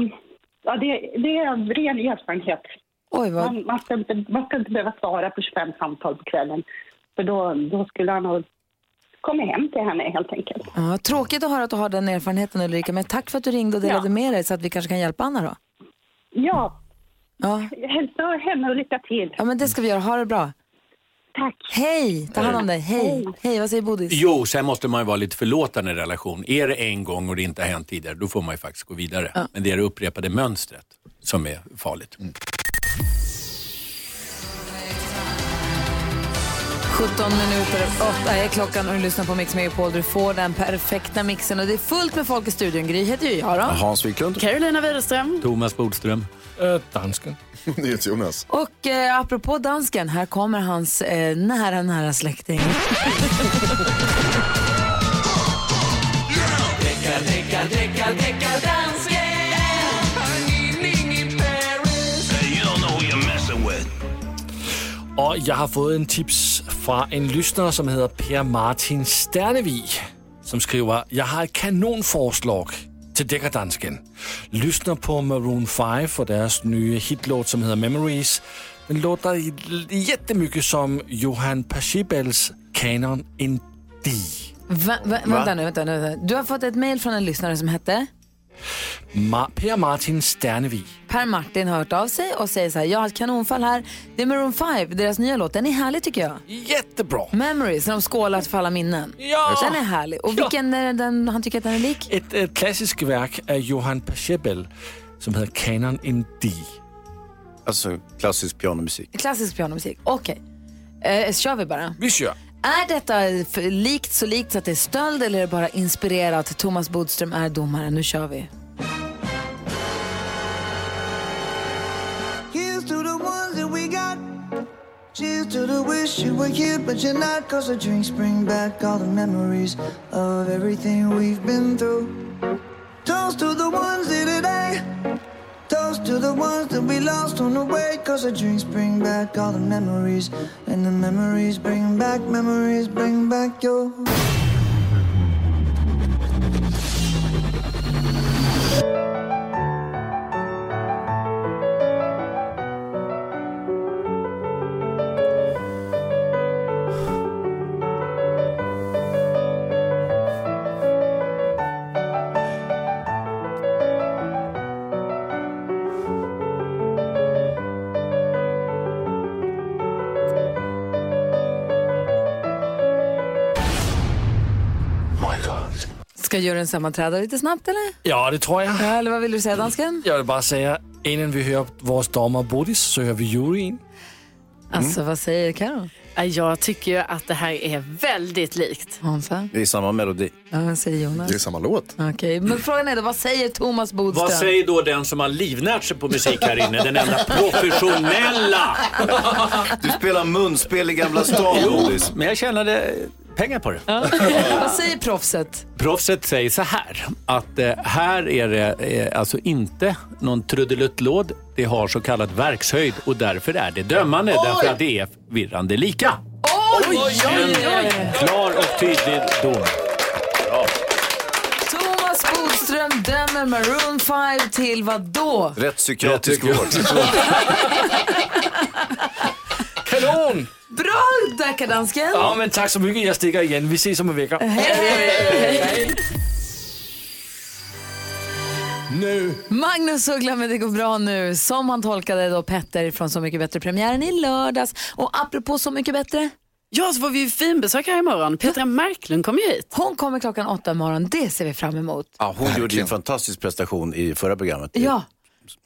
ja det, det är av ren erfarenhet.
Oj, vad...
man, man, ska inte, man ska inte behöva svara på 25 samtal på kvällen. För då, då skulle han ha kommit hem till henne helt enkelt.
Ja, tråkigt att höra att du har den erfarenheten Ulrika, men tack för att du ringde och delade med dig så att vi kanske kan hjälpa Anna då.
Ja,
Ja,
hälsa henne och lycka till.
ja men det ska vi göra. Ha det bra.
Tack.
Hej, ta hand om dig. Hej, Hej vad säger Bodis?
Jo, sen måste man ju vara lite förlåtande i en relation. Är det en gång och det inte har hänt tidigare, då får man ju faktiskt gå vidare. Men det är det upprepade mönstret som är farligt.
Mm.
17 minuter över åtta är klockan och du lyssnar på Mix Megapol. Du får den perfekta mixen och det är fullt med folk i studion. Gry heter ju jag då.
Hans Wiklund.
Carolina Widerström.
Thomas Bodström.
Äh,
[laughs]
dansken.
Jonas.
Och eh, apropå dansken, här kommer hans eh, nära, nära släkting.
Dricka, dricka, dricka, dricka dansken. I'm eating in Paris. You don't know who you're messing with.
Og jeg har fået en tips fra en lytter, som hedder Per Martin Sternevig, som skriver, Jeg har et kanonforslag til Dækkerdansken. Lysner på Maroon 5 for deres nye hitlåt, som hedder Memories. Den låter jättemycket som Johan Pachelbels Canon in D.
Va, va, vänta nu, vänta nu. vänta. Du har fått ett mejl från en lyssnare som hette
Ma- per Martin Sternevig.
Per Martin har hört av sig och säger så här, jag har ett kanonfall här. Det är Maroon 5, deras nya låt, den är härlig tycker jag.
Jättebra!
Memories, när de skålar för alla minnen.
Ja!
Den är härlig. Och
Ja.
vilken är den han tycker att den är lik?
Et, et klassisk værk af Johan Pachelbel, som hedder Canon in D.
Altså klassisk pianomusik.
Klassisk pianomusik. Okej, eh, kör vi bara.
Vi kör.
Är detta för likt så likt så att det är stöld eller är det bara inspirerat? Thomas Bodström är domare, nu kör vi.
Here's to the ones that we got. Cheers to the wish you were here, but you're not. Cause the drinks bring back all the memories of everything we've been through. Toast to the ones here today. Toast to the ones that we lost on the way. Cause the drinks bring back all the memories. And the memories bring back, memories bring back your.
Ska juryn sammanträda lite snabbt eller?
Ja, det tror jeg.
Ja, eller vad vill du säga dansken?
Jeg vil bare sige, inden vi hører vores dommer Bodis, så hører vi juryen.
Alltså vad säger Karo?
Jag tycker ju att det här är väldigt likt.
Hansa?
Det är samma melodi.
Ja, vad säger Jonas?
samma låt.
Okej, men frågan är då, vad säger Thomas Bodström?
Vad säger då den som har livnärt sig på musik här inne? Den enda professionella!
Du spelar munspel i Gamla stan, Bodis.
Men jag tjänade pengar på det.
[laughs] vad säger proffset?
Proffset säger så här, att eh, här är det eh, alltså inte någon trudeluttlåd. Det har så kallad verkshöjd och därför är det dömande.
Oj!
Därför att det är virrande lika.
Oj,
Klar och tydlig dom.
Thomas Bodström dömer Maroon 5 till vad då?
Rättspsykiatrisk vård. [laughs]
Kanon!
Bra deckardansken!
Ja, men tak så mycket. Jeg stikker igen. Vi ses om en vækker. Nu.
Magnus Uggla med Det går bra nu, som han tolkade då Petter från Så mycket bättre-premiären i lördags. Och apropå Så mycket bättre.
Ja, så får vi ju finbesök här imorgon. Petra Marklund kommer ju hit.
Hon kommer klockan åtta imorgon, det ser vi fram emot.
Ja, hon gjorde ju en fantastisk prestation i förra programmet.
Mm.
Ja,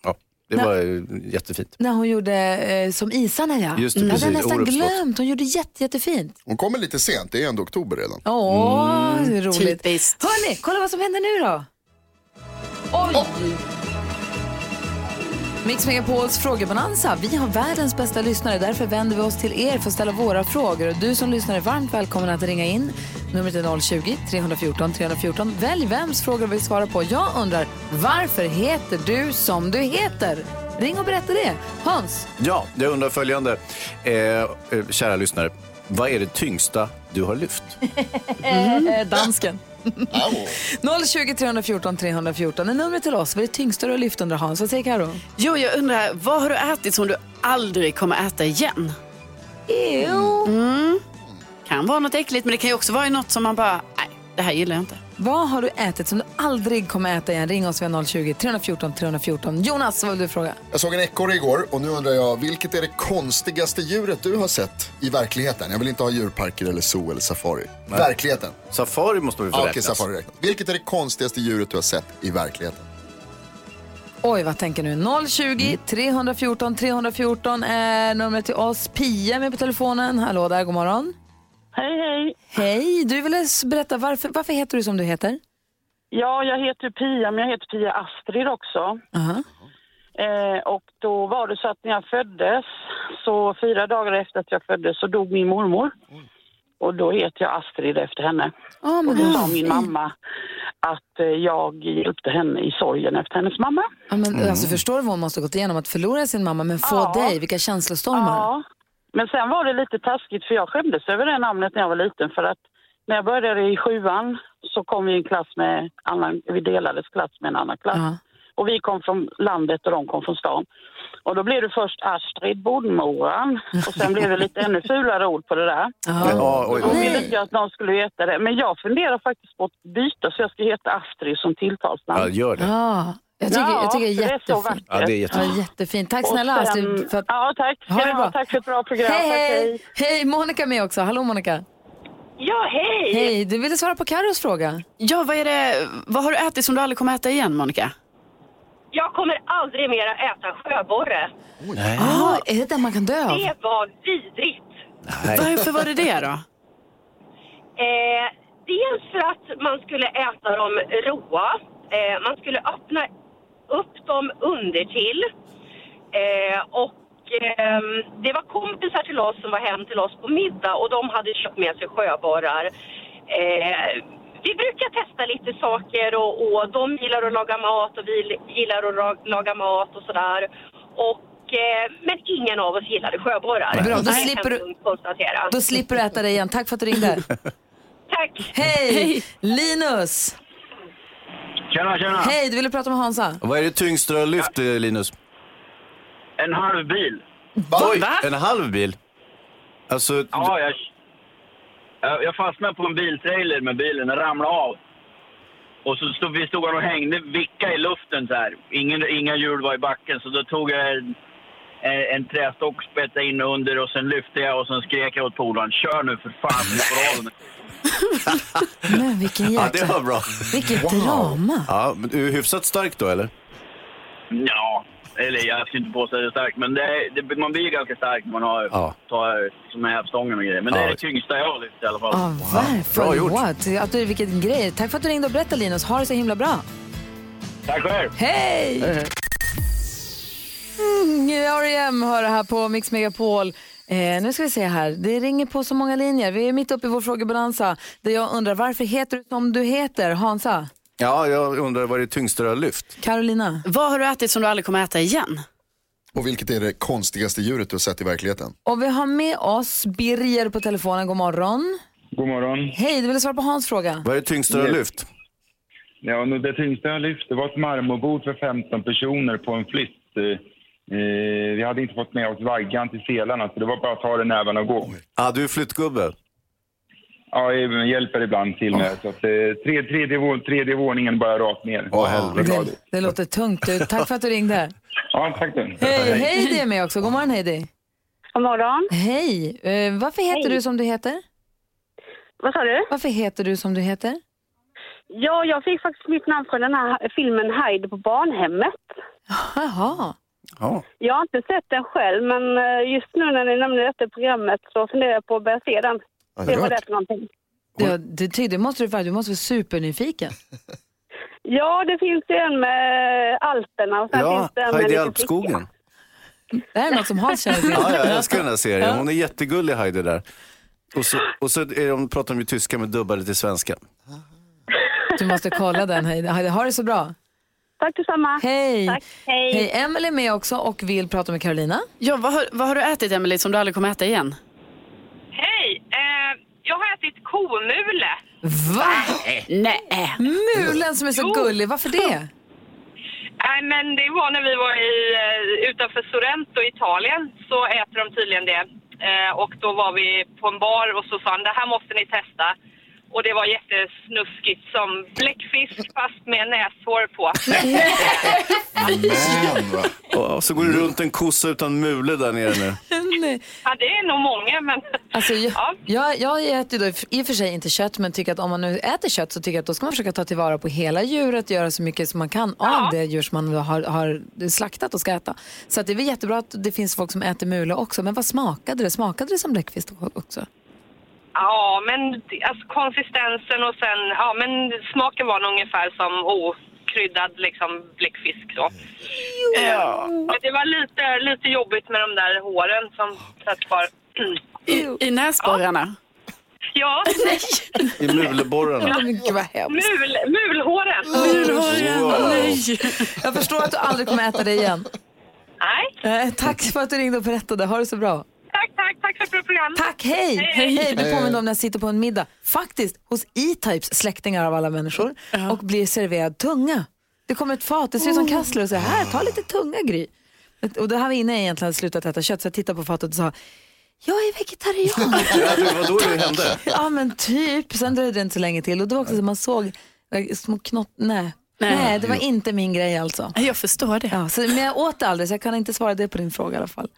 Ja, det var eh, jättefint.
när hon gjorde eh, Som isarna ja.
Just det,
jag hade
precis.
nästan
Orups slott.
glömt, hon gjorde jätte, jättefint.
Hon kommer lite sent, det är ändå oktober redan.
Åh,
Mm.
det är roligt. Hörni, kolla vad som händer nu då. Oj! Mix Megapols frågebonanza. Vi har världens bästa lyssnare. Därför vänder vi oss till er för att ställa våra frågor. Och du som lyssnar är varmt välkommen att ringa in. Numret är 020-314 314. Välj vems frågor vi svarar på. Jag undrar, varför heter du som du heter? Ring och berätta det. Hans,
Ja, jag undrar följande. Eh, eh, kära lyssnare, vad är det tyngsta du har lyft?
Eh, dansken. 020 314 314 är numret till oss. Vad är det tyngsta du har lyft under Hans? Vad säger Karo?
Jo, jag undrar, vad har du ätit som du aldrig kommer äta igen?
Ew.
Mm. Kan vara något äckligt, men det kan ju också vara något som man bara, nej, det här gillar jag inte.
Vad har du ätit som du aldrig kommer äta igen? Ring oss via 020-314 314. Jonas, vad vill du fråga?
Jag såg en ekorre igår och nu undrar jag, vilket är det konstigaste djuret du har sett i verkligheten? Jag vill inte ha djurparker eller zoo eller safari. [laughs] Verkligheten.
Safari måste vi få
Ja, okej,
räknas.
safari räknas. Vilket är det konstigaste djuret du har sett i verkligheten?
Oj, vad tänker nu? 020-314 314 är numret till oss. Pia är med på telefonen. Hallå där, god morgon.
Hej, hej.
Hej, du ville s- berätta varför, varför heter du som du heter?
Ja, jag heter Pia, men jag heter Pia Astrid också.
Aha.
Eh, och då var det så att när jag föddes, så fyra dagar efter att jag föddes så dog min mormor. Och då heter jag Astrid efter henne.
Oh,
och då sa min mamma att eh, jag hjälpte henne i sorgen efter hennes mamma.
Ja, men, alltså, förstår du vad hon måste ha gått igenom? Att förlora sin mamma, men få
Ja.
dig. Vilka känslostormar.
Ja. Men sen var det lite taskigt för jag skämdes över det namnet när jag var liten för att när jag började i sjuan så kom vi i en klass med annan, vi delades klass med en annan klass. Och vi kom från landet och de kom från stan. Och då blev det först Astrid Bondmoran och sen blev det lite ännu fulare ord på det där.
Ja, oj,
Och ville
oj.
inte jag att någon skulle heta det. Men jag funderar faktiskt på att byta så jag ska heta Astrid som tilltalsnamn.
Ja, gör det.
Ja, jag tycker, jag tycker det
Ja,
är
för det är så
jättefint.
vackert. Ja, det är
jättefint.
jättefint.
Ja, jättefint. Tack
Och
snälla
sen-
Astrid. För att...
Ja, tack.
Ha det bra.
Tack för ett bra program.
Hej,
Tack,
hej. Hej, Monica är med också. Hallå Monica.
Ja, hej!
Hej, du ville svara på Carros fråga.
Ja, vad, är det, vad har du ätit som du aldrig kommer äta igen, Monica?
Jag kommer aldrig mera äta sjöborre.
Ah, är det den man kan dö av?
Det var vidrigt.
Varför var det det då?
Eh, dels för att man skulle äta dem råa. Eh, man skulle öppna upp dem undertill. Eh, och ehm, det var kompisar till oss som var hem till oss på middag och de hade köpt med sig sjöborrar. Eh, vi brukar testa lite saker och, och de gillar att laga mat och vi gillar att ra- laga mat och sådär. Och, eh, men ingen av oss gillade sjöborrar.
Bra, då
Det kan
slipper
jag
du-
lugnt konstatera.
Då slipper du äta det igen. Tack för att du
[laughs]
ringde.
Tack.
Hej. Linus.
Tjena, tjena.
Hej, du ville prata med Hansa.
Vad är det tyngsta du har lyft, eh, Linus?
En halv bil.
Oj, en halv bil? Alltså,
Ja, jag, jag- jag fastnade på en biltrailer med bilen. Den ramlade av. Och så stod vi stod och hängde, vicka i luften så här. Ingen, inga hjul var i backen, så då tog jag en, en, en trästock, spetsade in under och sen lyfte jag och sen skrek jag åt polaren. Kör nu för fan! nu får du
[laughs]
av den."
Men vilken
ja,
jäkla...
det var bra.
Vilket drama.
Ja, men du är hyfsat stark då, eller?
Ja, eller jag skulle inte påstå att det är starkt, men det, är- det, man blir ju ganska stark när man har,
Ja.
tar som hävstången och grejer. Men det
Ja,
är det tyngsta jag har lyft i alla fall.
Ja, Ah, varför? What? Att du, vilken grej. Tack för att du ringde och berättade Linus. Ha det så himla bra.
Tack själv!
Hej! Mm, R.E.M. hör det här på Mix Megapol. Eh, nu ska vi se här, det ringer på så många linjer. Vi är mitt uppe i vår frågebalansa där jag undrar varför heter du som du heter, Hansa?
Ja, jag undrar vad är det tyngsta du har lyft?
Carolina?
Vad har du ätit som du aldrig kommer äta igen?
Och vilket är det konstigaste djuret du har sett i verkligheten?
Och vi har med oss Birger på telefonen. God morgon.
God morgon.
Hej, du ville svara på Hans fråga.
Vad är det tyngsta du har lyft?
Ja, nu, det tyngsta jag lyft det var ett marmorbord för 15 personer på en flytt. Eh, eh, vi hade inte fått med oss vaggan till selarna så det var bara att ta den näven och gå.
Ja, du är flyttgubbe.
Ja, jag hjälper ibland till med. Så att, eh, tre, tredje, vå- tredje våningen bara rakt ner. Åh,
Det, det låter tungt ut. Tack för att du
[laughs]
ringde.
Ja, tack du.
Hej, Heidi är med också. God morgon Heidi.
God morgon.
Hej. Eh, varför heter
Hej.
du som du heter?
Vad sa du?
Varför heter du som du heter?
Ja, jag fick faktiskt mitt namn från den här filmen Hyde på barnhemmet.
Jaha.
Ja.
Jag har inte sett den själv, men eh, just nu när ni nämner detta programmet så funderar jag på att börja se den.
Ja, det är
Se vad det
klart.
är för någonting.
Det, det, ty- det måste du vara. Du måste vara supernyfiken.
[laughs] Ja, det finns ju en med Alperna och sen finns det en med
Heidi
lite
Alpskogen.
Det här är något som Hans känner
[laughs]
till.
Ja, jag älskar den här serien. Hon är jättegullig, Heidi där. Och så, och så är de, pratar de ju tyska men dubbade till svenska.
Du måste kolla den Heidi. Heidi, Ha det så bra.
Tack detsamma.
Hej.
Tack, hej.
hej. Emily är med också och vill prata med Carolina.
Ja, vad har, vad har du ätit, Emily som du aldrig kommer äta igen?
Hej! Eh, jag har ätit komule.
Va? Nej. Mulen som är så
Jo.
gullig, varför det?
Nej, men det var när vi var i, eh, utanför Sorrento, Italien, så äter de tydligen det. Eh, och då var vi på en bar och så sa han, det här måste ni testa. Och det var jättesnuskigt som bläckfisk fast med näshår på.
Och, och så går det runt en kossa utan mule där nere nu.
ja, det är nog många, men...
Alltså, jag, jag, jag äter ju då i och för sig inte kött, men tycker att om man nu äter kött så tycker jag att då ska man försöka ta tillvara på hela djuret, göra så mycket som man kan av det djur som man har, har slaktat och ska äta. Så att det är väl jättebra att det finns folk som äter mule också, men vad smakade det? Smakade det som bläckfisk också?
Ja, men det- alltså, konsistensen och sen... Ja, men smaken var nog ungefär som... Oh, kryddad liksom, bläckfisk. Då. Eh, men det var lite, lite jobbigt med de där håren som satt kvar. [clears throat]
I, i näsborrarna?
Ja,
I muleborrarna.
Gud vad hemskt.
Mul, mulhåren.
Mulhåren, nej. Jag förstår att du aldrig kommer äta det igen. Nej. Eh, tack för att du ringde och berättade. Ha det så bra.
Tack, tack, tack för ett bra program.
Tack, hej! Hej, hej. Du påminner om när jag sitter på en middag, faktiskt hos E-Types släktingar av alla människor, och blir serverad tunga. Det kommer ett fat, det ser ut
Oh.
som kassler och säger här, ta lite tunga Gry. Och då här var innan jag egentligen hade slutat äta kött, så jag tittade på fatet och sa, jag är vegetarian.
[laughs] Ja, det var då det hände.
ja men typ, sen dröjde det inte så länge till och det var också så man såg eh, små knott, nej. Nej.
Nej.
det var inte min grej alltså.
Jag förstår det.
Ja, så, men jag åt det aldrig så jag kan inte svara det på din fråga i alla fall.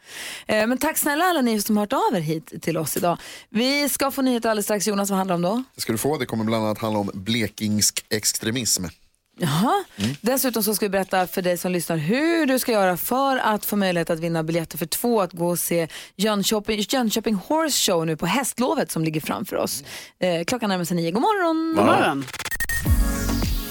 Eh, men tack snälla alla ni som har hört av er hit till oss idag. Vi ska få nyheter alldeles strax. Jonas, vad handlar det om då?
Det ska du få. Det kommer bland annat handla om blekingsk extremism.
Jaha. Dessutom så ska vi berätta för dig som lyssnar hur du ska göra för att få möjlighet att vinna biljetter för två att gå och se Jönköping, Jönköping Horse Show nu på hästlovet som ligger framför oss. Eh, klockan närmar sig nio. God morgon!
God morgon.